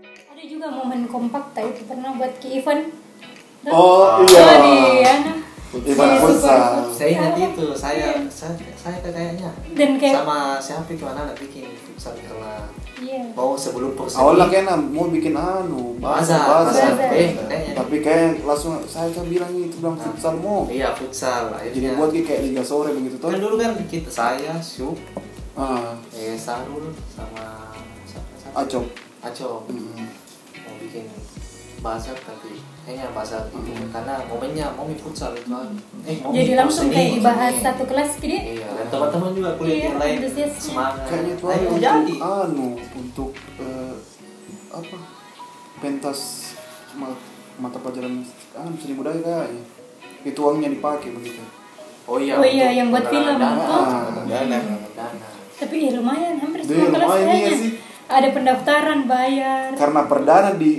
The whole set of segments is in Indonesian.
Ada juga momen kompak tau pernah buat ke event. Dan- Oh, Oh, iya. di anu. Event di Super futsal. Futsal. saya ingat itu iya. saya saya saya kayaknya Dan kayak sama siapa itu anak-anak bikin futsal di kelas iya. mau sebelum persegi Awalnya kayaknya mau ah. bikin anu, Bazar, bazar. bazar. Eh, kayaknya. Tapi kayak langsung saya kan bilang itu bilang Nah, futsal mau. iya futsal Jadi akhirnya buat gitu. kayak liga sore begitu tuh. kan dulu kan kita saya Syuk Ah, eh, Sarul sama siapa siapa? acok. Aco Mm. mau bikin bazar tapi kayaknya bazar itu Hmm. karena momennya mau futsal itu kan. eh, momi Jadi langsung seni, kayak dibahas seni. satu kelas ke dia. iya dan teman-teman juga kuliah Iya, yang lain antusiasnya. semangat Kayaknya itu ayo anu untuk jadi anu untuk eh, apa? Pentas ma- mata pelajaran anu seni budaya kayaknya. Itu uangnya dipakai begitu. oh Oh iya iya, untuk yang buat film, pengenalan oh. dana Dana. dana Tapi ya lumayan hampir Iya, semua kelas lumayan, iya kayaknya. sih. Ada pendaftaran bayar. Karena perdana di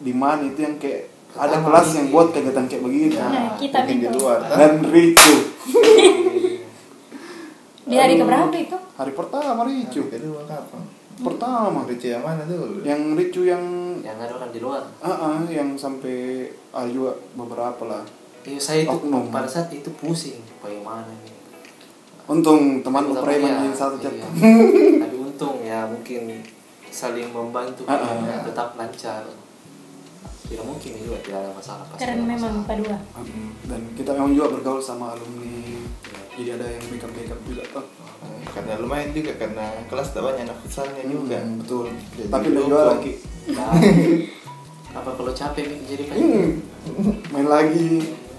di mana itu yang kayak ada Pertama kelas ini. yang buat kegiatan kayak begini. Nah, kita bikin di bingung. luar. Dan Ricu Iya, Di hari keberapa itu? hari pertama Ricu. Hari kedua kapan? Pertama Ricu yang mana dulu? yang Ricu yang yang ada orang di luar ah ah, yang sampai ah juga beberapa lah. Iya, saya itu Oknum. pada saat itu pusing bagaimana nih Untung teman lu Terutama ya, preman yang satu chat. iya. tapi untung ya mungkin saling membantu Ah, ah. ya, tetap lancar tidak mungkin itu tidak ada masalah pasti Karena ada memang masalah. Padua. Dan kita memang juga bergaul sama alumni. Jadi ada yang backup backup juga tuh. Eh, Karena lumayan juga karena kelas tak banyak anak futsalnya Iya juga. Hmm, betul. Jadi Tapi lu dukung. juga lagi Nah, apa kalau capek Mik, jadi kayak hmm, main lagi.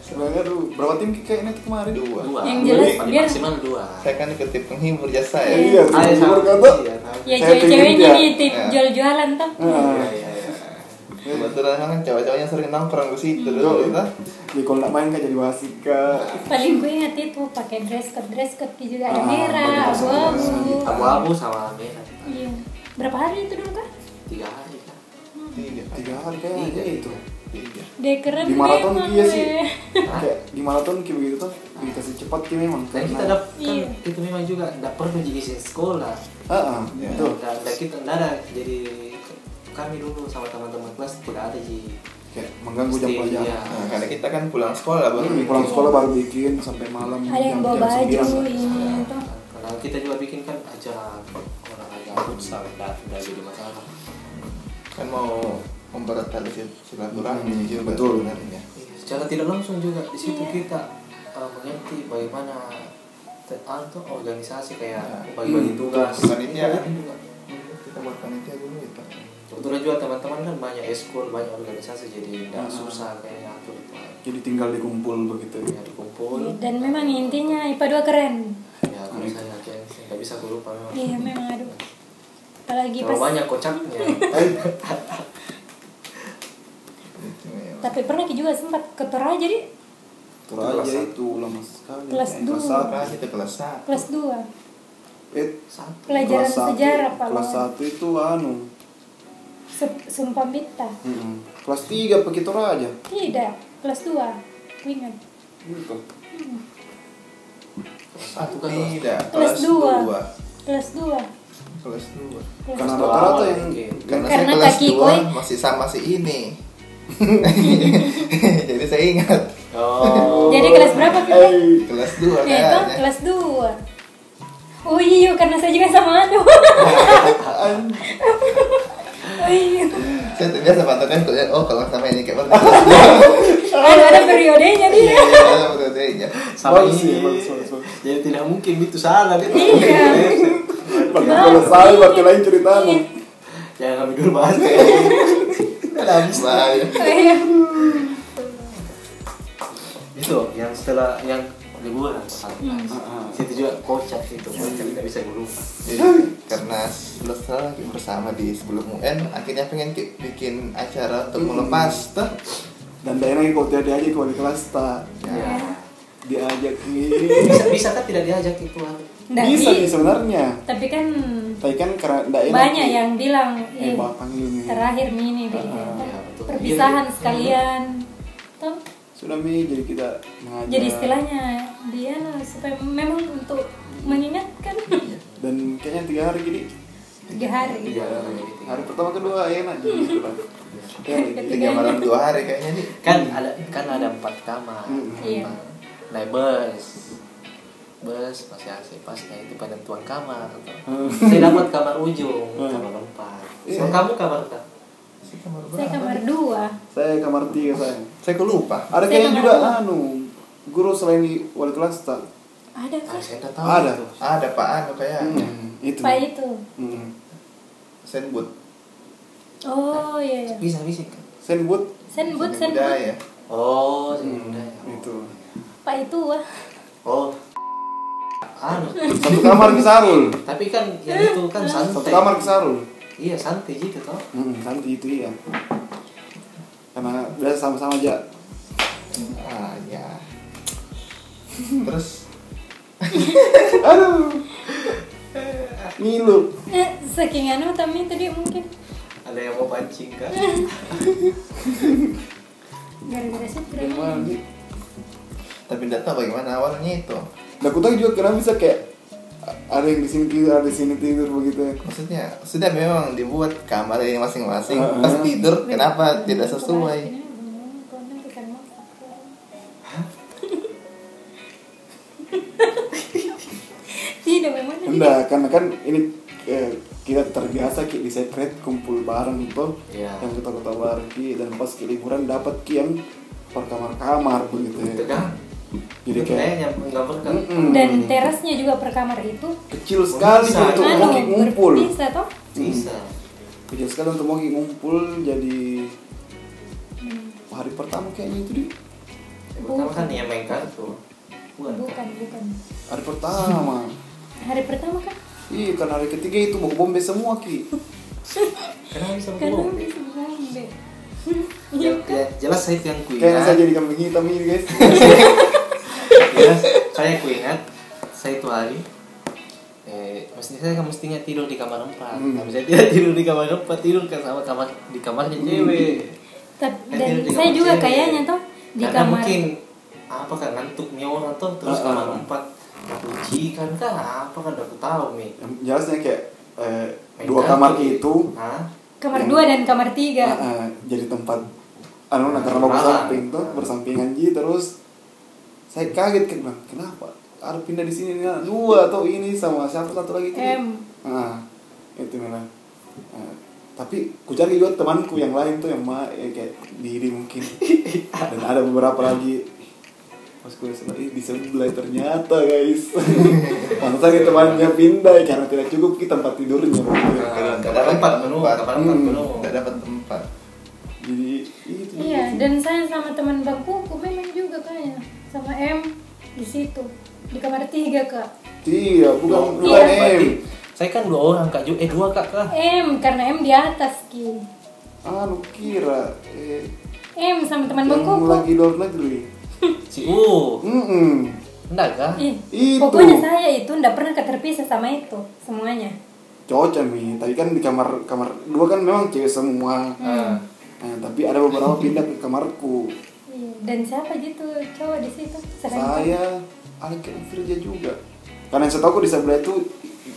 Sebenarnya tuh berapa tim kayaknya tuh kemarin? Dua. dua Yang jelas Paling dia- maksimal dua Saya kan ikut tim penghibur jasa ya. Iya, Ah, ya, bener sama. kata. Iya, tahu. Ya Saya cewek-ceweknya pinggir di dia. Iya. tim Ya. jual-jualan tuh. Ah, Iya, iya, iya. Kebetulan kan cowok-cowoknya sering nongkrong ke situ dulu gitu. Jadi kalau nggak main kan jadi wasit kak. Paling gue ingat itu pakai dress code dress code gitu juga ada Ah, merah, pakai dress code, abu-abu. abu-abu sama merah Iya. Berapa hari itu dulu kan? tiga hari kan Tiga. Tiga hari Tiga. kayaknya gitu. itu. Tiga. Dia keren Di maraton memang, dia iya sih. weh. Hah? Kayak di maraton kayak begitu tuh dikasih cepat kayak memang. dan kita karena- dapat kan Iya. kita memang juga tidak perlu jadi sen- sekolah Ah, ah, Ya. betul. Nggak- nggak kita nggak ada jadi kami dulu sama teman-teman kelas tidak ada di Kayak mengganggu jam Iya. pelajaran. Nah, karena kita kan pulang sekolah baru Baru bikin. Hmm, pulang sekolah baru bikin sampai malam Ada yang bawa jam baju sembilan. ini tuh. karena kita juga bikin kan acara olahraga Iya. futsal tidak tidak jadi masalah kan mau mempererat tali sil- silaturahmi Hmm, juga betul. sebenarnya. Iya, secara tidak langsung juga di situ kita uh, mengerti bagaimana te- ah, tuh organisasi kayak Ya. bagi-bagi Hmm, tugas panitia. Iya, juga. Kita buat panitia dulu gitu. kebetulan juga teman-teman kan banyak eskul banyak organisasi jadi Ah. tidak susah kayaknya atur itu Jadi tinggal dikumpul begitu. ya dikumpul Dan memang intinya IPA 2 keren. ya kalau saya kayak nggak bisa aku lupa memang Iya memang aduh. Apalagi Terlalu pas Iya. banyak kocaknya Eh, Itu ya. tapi pernah juga sempat ke Toraja jadi kelas Kelas aja satu. itu lama sekali. Kelas Eh, kelas dua. satu. Kelas itu kelas satu. kelas 2. Eh, satu Pelajaran kelas satu- sejarah Pak. Kelas satu itu anu. Se- Sumpah Bita. mm-mm. Kelas tiga begitu aja. Tidak, kelas 2. Gue ingat. Gitu. Hmm. Ah, satu kan kelas tidak. Kelas Kelas dua. dua. Kelas 2. Kelas dua. Kelas Karena dua rata-rata awal yang mungkin. Karena, Karena saya kelas kaki dua koi- masih sama si ini. Jadi saya ingat oh Jadi kelas berapa Fitri? Eh, kelas dua Ya itu kayaknya. kelas 2 Oh iya, karena saya juga sama Anu Oh iya Saya tuh biasa patokan kuliah, oh kalau sama ini kayak berarti Oh, kelas dua. Anu ada periodenya dia Iya, iya, iya, betul-betul, iya. sama Bagus sih, ini bagus, bagus, bagus. jadi tidak mungkin itu salah gitu Iya. Berarti kalau saya berarti lain cerita anu. jangan kami dulu bahas ya Bahaya. Oh iya itu yang setelah yang liburan Hmm. Ah, ah. situ juga kocak itu kocak tidak bisa gue lupa Iya. Jadi, karena sebelah salah lagi bersama di sebelum UN akhirnya pengen ki- bikin Iya. acara untuk melepas tuh Dan daerah kalau tidak diajak kalau di kelas tak Iya. ya. diajak bisa nih. bisa kan tidak diajak itu Nggak, Bisa di- nih sebenarnya. Nah, Tapi kan Tapi kan karena Iya, daerah banyak yang bilang Eh, "Ih, bakang ini. Terakhir nih nih dia bilang, iya, betul. Perpisahan Iya, iya. sekalian Toh, Sudah mi jadi kita mengajar. Jadi istilahnya Iya, dia lah, supaya memang untuk mengingatkan dan kayaknya tiga hari jadi tiga hari Tiga hari. Hari pertama kedua enak gitu lah. Iya. Ya, Iya. gitu. tiga malam dua hari kayaknya nih kan ada kan ada empat kamar Hmm. Iya. naik bus bus masih asik pas naik itu penentuan kamar tuh. Hmm. saya dapat kamar ujung Hmm. kamar empat Iya. Kalau kamu kamar empat Saya kamar saya berapa? kamar dua Saya kamar tiga saya. saya kok lupa Ada Saya kayaknya kamar juga dua. anu guru selain di wali kelas tak. ada ah, kah saya nggak tahu Ada. itu. Ah, ada pak anu kayak Hmm, itu. pak itu Hmm. senbut oh iya iya bisa bisa kan Senbut. senbut Iya, Seni senbut budaya oh saya Hmm, udah ya. itu. pak itu wah oh anu Satu kamar ke Sarul. tapi kan yang itu kan santai Satu kamar ke Sarul. iya santai gitu toh Hmm, nanti itu iya. Karena biasa sama-sama aja. ah ya terus Aduh. Ngilu. eh, saking anu tapi tadi mungkin ada yang mau pancing kan Iya. gara-gara sih Yang mana nih? tapi tidak tahu bagaimana awalnya itu Nah, aku tahu juga kenapa bisa kayak a- ada yang di sini tidur, ada di sini tidur begitu. ya. maksudnya sudah memang dibuat kamar ini masing-masing Heeh. pas tidur kenapa tidak sesuai Tidak Iya, memang tadi. Enggak, karena kan ini eh, kita terbiasa ki di secret kumpul bareng gitu Iya. yang kita ketawa bareng ki dan pas ki liburan dapat ki yang per kamar-kamar begitu itu ya. kan Jadi saya kayak nyambung gambar kan Mm-mm. Dan terasnya juga per kamar itu kecil sekali Bisa, Ki, untuk mau iya. ki anu ngumpul. berpisah toh. bisa Kecil sekali untuk mau ki ngumpul jadi hari pertama kayaknya itu di yang pertama kan yang main kartu bukan Bukan, bukan. hari pertama. Hari pertama kan? Iya, karena hari ketiga itu mau ke Bombay semua ki. kenapa bisa Karena bohong bisa ngambe. Iya, ya, ya, jelas saya itu yang Kayaknya Iya kan? saya kuingat jadi kambing hitam ini guys. jelas saya kuingat saya itu hari eh mestinya saya kan mestinya tidur di kamar empat Hmm. tapi saya tidak tidur di kamar empat tidur kan sama kamar di kamarnya Hmm. cewek Tapi Saya dan tidur di saya kamar juga cewek. kayaknya toh di karena kamar. mungkin apa kan ngantuknya orang tuh terus Ah, kamar ah. empat kunci kan kan apa kan aku tahu nih jelasnya kayak eh, Main dua kartu. kamar itu Hah? Kamar dua dan kamar tiga. ah, ah, jadi tempat anu nah, karena Kenalan. bagus samping tuh bersampingan ji terus saya kaget kan bilang, kenapa harus pindah di sini nah, dua atau ini sama siapa satu lagi itu Em. nah itu malah Ah, tapi ku cari juga temanku yang lain tuh yang ma ya, kayak diri mungkin dan ada beberapa lagi pas ku sebelah "Ih, di sebelah ternyata guys Pantesan ini temannya pindah karena tidak cukup kita tempat tidurnya Nah, kamar empat penuh kamar empat Hmm. penuh tidak dapat tempat jadi itu Iya, dan saya sama teman bangkuku memang juga kayaknya sama M di situ di kamar tiga kak. Iya, bukan Dua Iya. bukan M. berarti saya kan dua orang kak Ju eh dua kak kak M karena M di atas ki. Anu kira eh, M sama teman yang bangkuku. lagi luar negeri. si U Mm-mm. enggak kak Ih, Itu. Pokoknya saya itu ndak pernah keterpisah sama itu semuanya. Cocok mi. Tadi kan di kamar kamar dua kan memang cewek semua. Ah. Nah, tapi ada beberapa pindah ke kamarku. Iya, Dan siapa gitu cowok di situ? Selain Saya ada kira Firja juga. Karena yang saya tahu aku di sebelah itu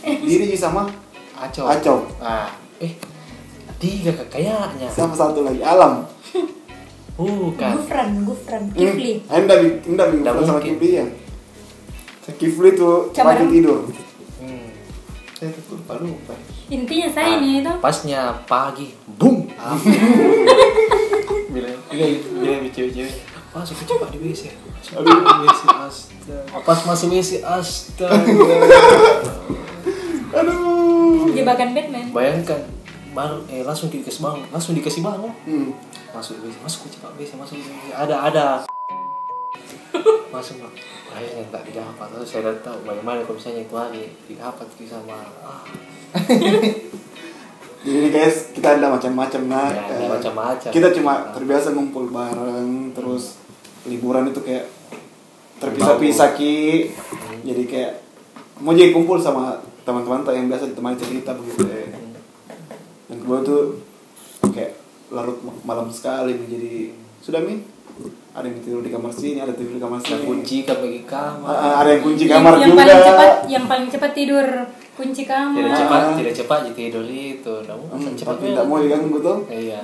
diri sama Acau. Acau. Ah, eh tiga kak kayaknya. sama satu lagi Alam. Gufran, Bukan. Gufran, Gufran, Hmm. Kifli. Anda Anda Nggak sama mungkin. Kifli ya. Kifli tuh Kamar- tempat tidur. Hmm. saya tuh lupa lupa Intinya saya Ah, ini itu Pasnya pagi, Ah. boom. Bilang, bilang, bilang cewek-cewek. Pas aku coba di WC. Aduh, WC astaga. Pas masuk WC astaga. Aduh. jebakan Batman. Bayangkan, baru eh langsung dikasih bangun, langsung dikasih bangun. Hmm. masuk WC masuk cepat WC masuk WC ada ada masuk Pak. akhirnya tak didapat terus saya dah tahu bagaimana kalau misalnya itu hari didapat ke sama ah, Jadi nih guys, kita ada macam-macam nah. Ya, ada eh, macam-macam. Kita cuma terbiasa ngumpul bareng terus liburan itu kayak terpisah-pisah ki. Hmm. Jadi kayak mau jadi kumpul sama teman-teman tak yang biasa ditemani cerita begitu ya. Hmm. Yang kedua tuh kayak larut ma- malam sekali jadi sudah min ada yang tidur di kamar sini, ada tidur di kamar ada sini. kunci kan bagi kamar Iya. Ah, ah, ada yang kunci Yang- kamar yang juga. Hmm, paling cepat, yang paling cepat tidur kunci tidak kamar cepat tidak cepat jadi tidur itu kamu Ah. Hmm, cepat tapi Hmm. tidak mau diganggu tuh. iya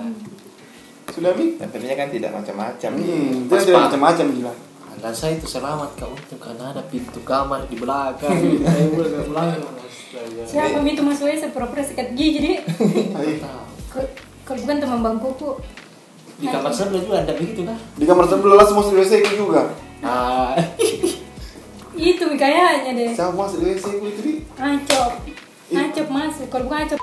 Sudah mi? Yang pentingnya kan tidak macam-macam. Iya. Hmm, Pas dia ada pak. macam-macam gila. dan saya itu selamat kak untung karena ada pintu kamar di belakang saya udah ke belakang astaga siapa itu masuknya sepura-pura sikat gigi jadi Hai. ke- kalau bukan teman bangkuku di kamar sebelah juga ada begitu kah Di kamar sebelah semua di WC ku juga. ah itu kayaknya deh Siapa masuk di WC ku itu di? acop acop masuk kalau bukan acop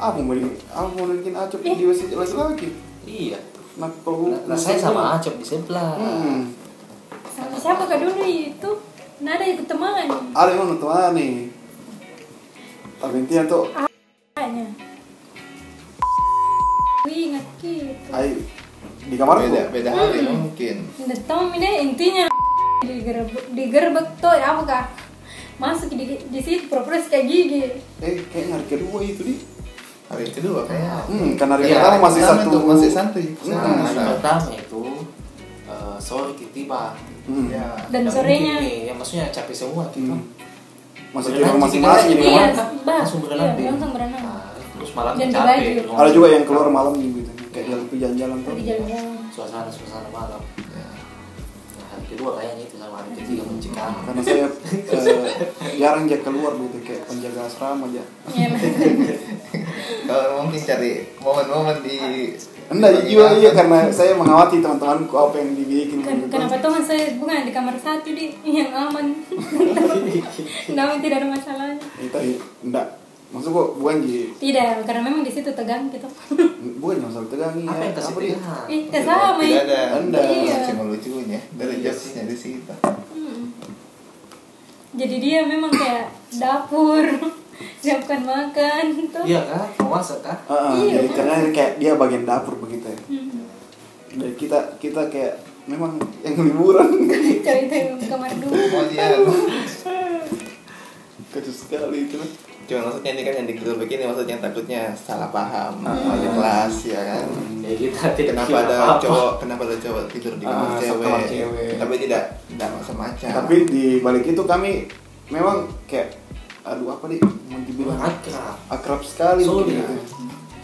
Apa mau di- apa mau bikin acok di WC jelas lagi. iya Nah kalau Nah, nah, saya sama Acop di sebelah Hmm. sama siapa kak dulu itu nada ikut teman Ada yang nonton aneh. Tapi intinya tuh, kayaknya Wih, ingat gitu ay di kamar Beda tuh. beda hari mungkin. Nggak tahu ini intinya digerebek digerebek tuh ya, apa kak masuk di di situ pura-pura sikat gigi Eh kayaknya hari kedua itu di. Hari kedua kayak. Hmm, karena hari Iya, pertama masih pertama satu. Hmm. tuh masih santuy. nah, Santuy. hari pertama itu eh, sore kita tiba Hmm. Ya. Dan Nggak sorenya. mungkin nih, ya maksudnya capek semua gitu. kita Hmm. Masih di Berenang kamar sih, masing-masing di Iya, kamar. bah. langsung berenang Iya, deh. langsung berenang. Nah, terus malam Dan capek berbaju. rumah. Ada juga yang keluar malam gitu, kayak jalan jalan-jalan tuh. Pergi jalan-jalan suasana suasana malam Ya. nah, hari kedua kayaknya itu sama hari ketiga mencekam Karena saya eh, jarang aja keluar gitu, kayak penjaga asrama aja. Iya, Kalau mungkin cari momen-momen di Enggak di juga iya kan. penginapan. karena saya mengawati teman-temanku apa yang Ken- dibikin. gitu. Kan, kenapa tuh saya bukan di kamar satu di yang aman namun tidak ada masalahnya Itu iya. enggak. Maksud gua bukan di tidak karena memang di situ tegang gitu bukan yang masalah tegang iya. apa yang kasih dia? pegangan eh eh, sama Tidak ada. ya Anda. Iya. Cuma lucunya dari jokesnya di situ. Mm. jadi dia memang kayak dapur siapkan makan gitu. tuh iya kah mau masak kah Heeh, Iya, jadi Mas. karena kayak dia bagian dapur begitu ya. Mm. Dan kita kita kayak memang yang liburan cerita yang kamar dulu Oh iya. kacau sekali itu. Cuma maksudnya ini kan yang digerobek ini maksudnya takutnya salah paham wajah kelas ya kan. ya kita tidak Kenapa bikin ada apa-apa. cowok kenapa ada cowok tidur di kamar Iya, Ah, cewek, kamar cewek. Tapi tidak tidak semacam. Ya. Tapi di balik itu kami memang kayak aduh apa nih mau dibilang akrab ya. akrab sekali sulit gitu.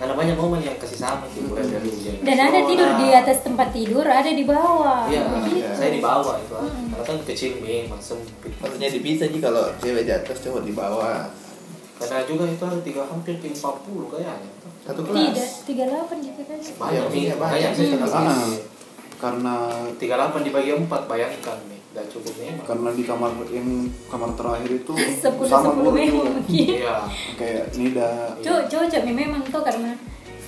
karena banyak momen yang kasih sama sih mulai dari hujan dan ada tidur di atas tempat tidur ada di bawah iya Jadi, iya. saya di bawah itu ah. karena kan kecil nih masem gitu. maksudnya dipisah sih kalau cewek di atas cowok di bawah. karena juga itu ada tiga hampir ke empat puluh kayaknya tuh. Satu tidak kelas. tiga delapan gitu kan banyak Ya, nih iya, banyak banyak. saya sudah Ah, habis. karena tiga delapan dibagi empat bayangkan nih nggak cukup Iya. memang karena di kamar yang kamar terakhir itu sepuluh sama sepuluh guru memang juga mungkin iya kayak iya. Nida Cuk, cuk, cuk, memang tuh karena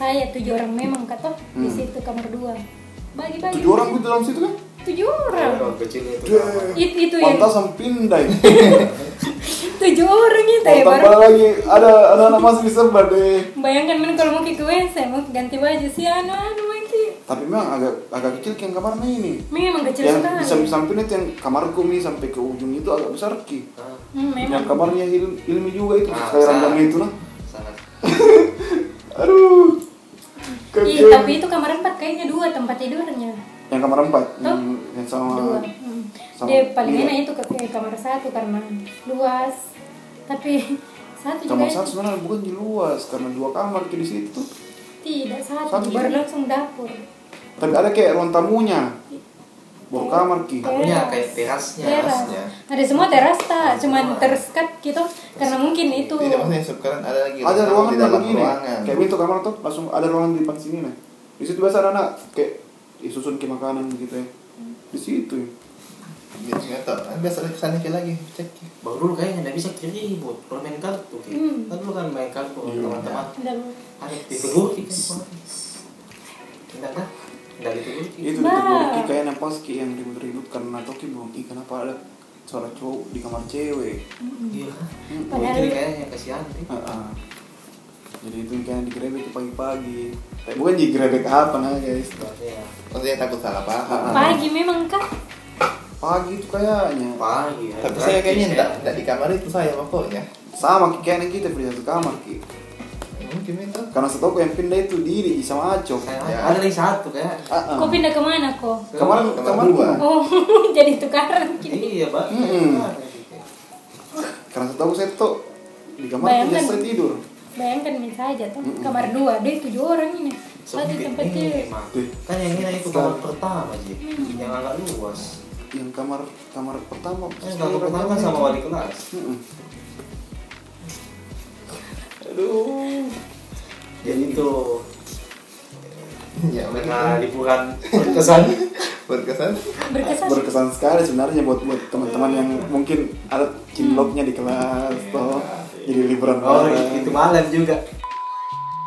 saya tujuh orang memang kata di Hmm. situ kamar dua. Bagi bagi. tujuh orang Iya, gitu dalam situ kan Tujuh orang. Iya, orang kecil itu Iya. Deh. ramai. Iya. It- itu yang pantas sama pindah ya. tujuh orang itu ya Kalau tambah baru. lagi ada anak-anak masih sebar deh Bayangkan men kalau mau ke WC, saya mau ganti baju si anu anu nanti. tapi memang agak agak kecil kayak kamarnya ini Memang kecil yang sekali. di sam- samping itu yang kamarku nih sampai ke ujung itu agak besar ki Ah, Hmm, memang. yang kamarnya il- ilmi juga itu kayak Ah, besar. ranjangnya itu lah sangat aduh Iya, kecil tapi itu kamar empat kayaknya dua tempat tidurnya. yang kamar Tuh. empat yang, yang sama Dua. Hmm. Oh, sama- Dia paling iya. enak itu ke eh, kamar satu karena luas. Tapi satu kamar juga satu sebenarnya bukan di luas karena dua kamar tuh di situ tidak Satu satu baru juga. langsung dapur. tapi ada kayak ruang tamunya baru kamar ki Tamunya kayak terasnya. Teras. Terasnya. Ada semua teras tak, cuma Semua. tersekat gitu karena mungkin itu. Tidak maksudnya subkaran ada lagi ada ruangan ruangan di yang dalam begini ruangan. kayak gitu. pintu kamar tuh langsung ada ruangan di depan sini nah di situ biasa anak kayak disusun ke makanan gitu ya di situ ya. Biasanya tuh biasa "Ah, kesana ke lagi cek. baru dulu kayaknya nggak bisa kiri ribut kalau main kartu gitu Hmm. kan dulu kan main kartu Iya. teman-teman Dan- ada ditegur kita kan, enggak enggak enggak ditegur itu Nah. ditegur ki kayak nampak ki yang ribut-ribut karena toki belum ki kenapa ada suara cowok di kamar cewek iya Hmm. Padahal- kiri kayaknya kasihan nih Ah, ah. jadi itu kan digerebek tuh pagi-pagi Eh, bukan digerebek apa nah guys Soalnya Maksudnya takut salah paham. Ah. Pagi memang kak. pagi tuh kayaknya pagi hari Tapi terakhir saya kayaknya saya- enggak enggak di kamar itu saya pokoknya. sama Ki, kayaknya kita beli satu kamar ki Mungkin itu. karena setahu aku yang pindah itu diri sama Acok saya Ya. ada yang satu kayak Ah, ah. Kok pindah kemana kok? Kamar- Kamar kamar dua. dua Oh, jadi tukaran. iya pak Mm-mm. karena setahu aku saya tuh di kamar tiga Bayangkan. set tidur Bayangkan minta aja tuh kamar dua, dia tujuh orang ini. Satu Sempit tempat nih dia. Hmm. emang. Tuh. Kan yang ini itu kamar pertama Ji. Yang agak luas. yang kamar kamar pertama Kan kamar pertama kan sama wali kelas. Mm-mm. aduh Jadi itu ya karena benar liburan berkesan. berkesan Berkesan. berkesan sekali sebenarnya buat buat teman-teman yang mungkin ada cinloknya di kelas toh jadi liburan Hmm. Oh, bareng. itu malam juga.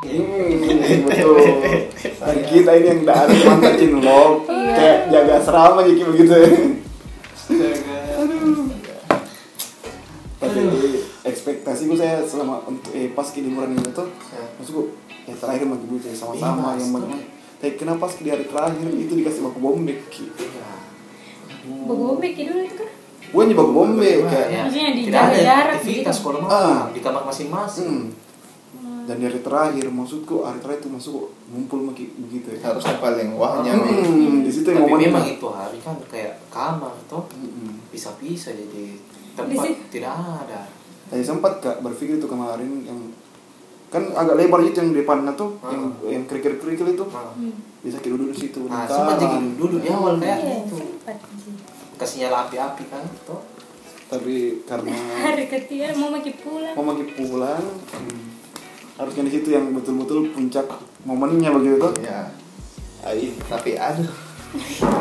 Hmm, betul. Dan kita ini yang dari mantan cinlok, Iya. kayak jaga asrama jadi kayak begitu. Tapi ekspektasi gue saya selama untuk eh, pas ke liburan ini tuh, Ya. maksud gue ya terakhir mah gitu ya, sama-sama Iya, yang mas. bagaimana. Tapi kenapa pas di hari terakhir itu dikasih baku bombek? gitu. Ki? Bogobek itu dulu itu kan. Gue aja baku bombek kayak. Ya. Maksudnya di Tidak ada jarak aktivitas gitu. kalau Ah. malam di kamar masing-masing. Hmm. Dan di hari terakhir maksudku hari terakhir itu masuk kok ngumpul sama Ki, begitu ya. harusnya paling wahnya Mi. Hmm, di situ Iya. Tapi yang Hmm. momen memang itu hari kan kayak kamar toh Mm-mm. bisa-bisa jadi Di tempat situ. tidak ada. Tadi sempat gak berpikir itu kemarin yang kan agak lebar itu yang depannya tuh Ah. yang yang kerikil kerikil itu Nah, Hmm. bisa kita duduk di situ Nah, bentaran. sempat jadi duduk di awal Iya, kayak gitu. sempat. Kasih nyala api-api kan toh. tapi karena Hari ketiga mau pergi pulang. Oh. mau lagi pulang harusnya di situ yang betul-betul puncak momennya begitu tuh ya Ai, tapi aduh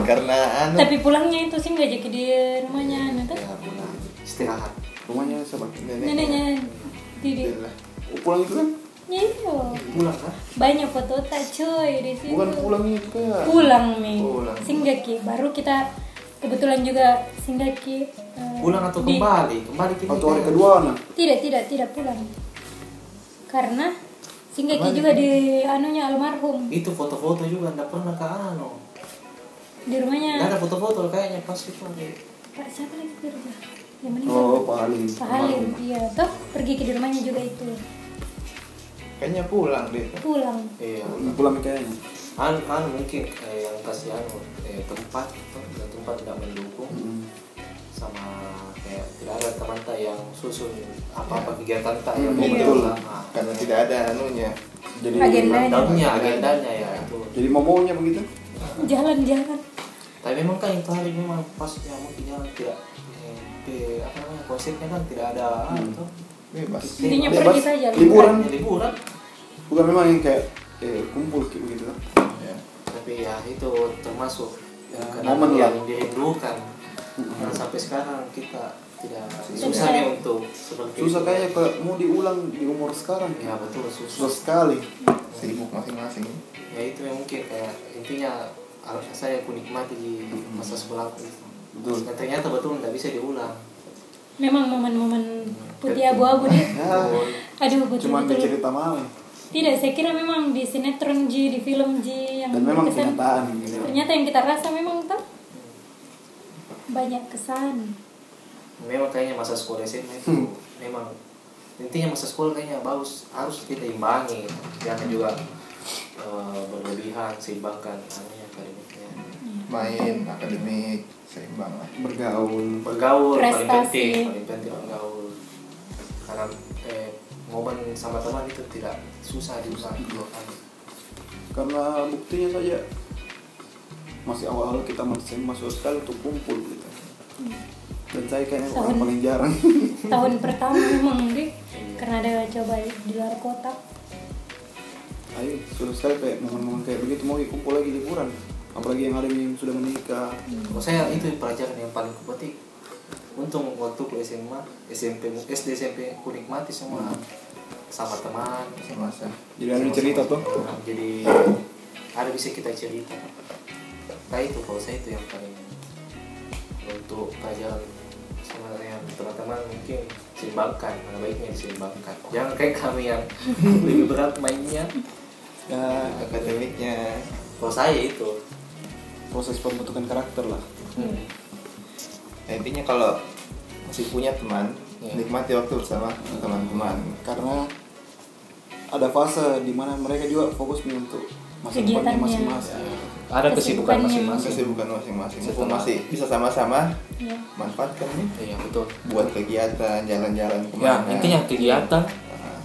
karena anu Tapi pulangnya itu sih nggak jadi di rumahnya, anu nanti Ya, pulang. Istirahat. rumahnya siapa neneknya tidur. Alhamdulillah. Oh, pulang itu kan Iya, Pulang kan? banyak foto tak cuy di situ. bukan pulang itu kan Pulang mi. Pulang. Singgaki. Baru kita kebetulan juga singgaki. eh, Pulang atau di- kembali? Kembali kita. atau hari kedua nah Tidak, tidak, tidak pulang. Karena singgaki juga di anunya almarhum Itu foto-foto juga enggak pernah ke Ano. di Enggak rumahnya. ada foto-foto kayaknya pas itu. Pak siapa lagi kerja? Yang meninggal. oh Pak Ali Pak Halim, iya. Toh pergi ke di rumahnya juga itu. kayaknya pulang deh Pulang. Iya. pulang kayaknya Anu, anu mungkin eh, yang kasih anu eh, tempat gitu, dan tempat tidak mendukung Mm. sama kayak tidak ada teman tak yang susun apa-apa kegiatan tak yang Hmm, mau betul. berjalan. Nah, karena tidak ada anunya jadi Agenda. Tahunnya, Nah, agendanya ya itu. jadi momonya begitu Jalan-jalan. Tapi memang kan itu hari memang pas yang mungkin jalan tidak eh, di- apa namanya konsepnya kan tidak ada anu tuh. bebas Intinya Bebas, pergi saja. Hmm. liburan. Ya, liburan. bukan memang yang kayak eh, kumpul kayak begitu tuh. ya. Tapi ya itu termasuk Ya, kenangan momen lah. Hmm. yang dirindukan. Karena sampai sekarang kita tidak Susah. susah nih untuk seperti susah itu. kayaknya kalau mau diulang di umur sekarang Ya betul susah. susah sekali sibuk masing-masing Ya itu yang mungkin kayak intinya al- saya aku nikmati di masa sekolah aku. Hmm. Betul. Dan ternyata betul nggak bisa diulang. Memang momen-momen putih abu-abu dia. ya Aduh, betul cuman di betul. cerita malam Tidak, saya kira memang di sinetron Ji, di film Ji yang dan memang berkesan. kenyataan gitu Ternyata yang kita rasa memang tuh banyak kesan. Memang kayaknya masa sekolah SMA itu memang intinya masa sekolah kayaknya bagus harus kita imbangi jangan juga eh, berlebihan seimbangkan anunya akademiknya. main akademik seimbang lah bergaul bergaul paling Prestasi. penting paling penting bergaul karena eh, momen sama teman itu tidak susah diusahakan karena buktinya saja masih awal-awal kita masih masuk sekali untuk kumpul gitu dan saya kayaknya orang Tahun. paling jarang Tahun pertama memang deh karena ada coba di luar kota. ayo susah sekali kayak momen-momen kayak begitu mau kumpul lagi liburan apalagi yang ada yang sudah menikah kalau saya itu pelajaran yang paling penting untung waktu ku SMA SMP SD SMP ku nikmati semua sama teman semasa jadi ada sama- cerita tuh sama- jadi ada bisa kita cerita nah itu kalau saya itu yang paling untuk pelajaran sama yang teman-teman mungkin seimbangkan mana baiknya diseimbangkan jangan kayak kami yang lebih berat mainnya ya akademiknya kalau saya itu proses pembentukan karakter lah Nah, intinya kalau masih punya teman Iya. nikmati waktu bersama teman-teman karena ada fase di mana mereka juga fokus nih untuk masa Kegiatannya. depannya Iya. masing-masing. ada kesibukan Kesibukannya. masing-masing kesibukan masing-masing mumpung Setelah- masih bisa sama-sama Iya. manfaatkan nih iya betul buat kegiatan jalan-jalan ya kemana intinya kegiatan Nah,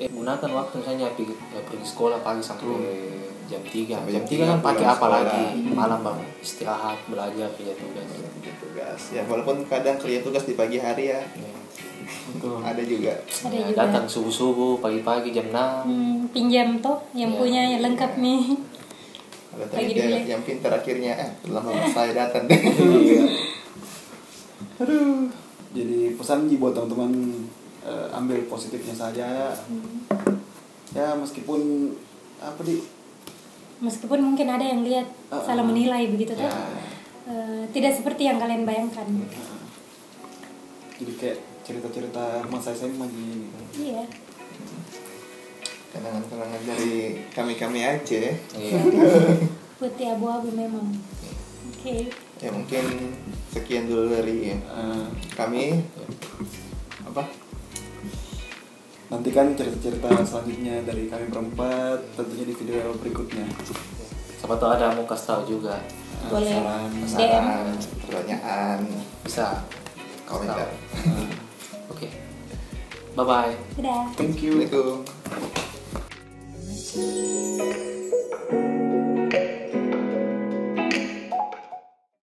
eh, gunakan waktu misalnya pergi, eh, pergi sekolah pagi sampai jam 3 Sampai jam jam 3 kan tiga, pakai pulang apa sekolah. lagi malam bang istirahat belajar ya, kerja tugas kerja tugas ya walaupun kadang kerja tugas di pagi hari ya Ya. Betul. ada juga Ada Ya, juga. datang subuh-subuh pagi-pagi jam 6 Hmm, pinjam toh yang Iya. punya yang lengkap nih. ada tadi Pagi dia dulu ya. yang pintar akhirnya eh lama saya datang Iya. deh Aduh. Jadi pesan Ji buat teman-teman eh, ambil positifnya saja. Ya meskipun apa di Meskipun mungkin ada yang lihat Uh-uh. salah menilai begitu toh. Ya. Eh, tidak seperti yang kalian bayangkan. Hmm. jadi kayak cerita-cerita masa SMA Ji. Iya. kenangan-kenangan dari kami-kami aja ya. Iya. Putih abu-abu memang. Oke. ya mungkin sekian dulu dari Eh, kami apa nantikan cerita-cerita selanjutnya dari kami berempat tentunya di video berikutnya. siapa tahu ada yang mau kasih tahu juga Eh, Boleh. saran. DM. saran pertanyaan bisa kasih tahu. komentar oke bye bye Dadah. Thank you. Assalamualaikum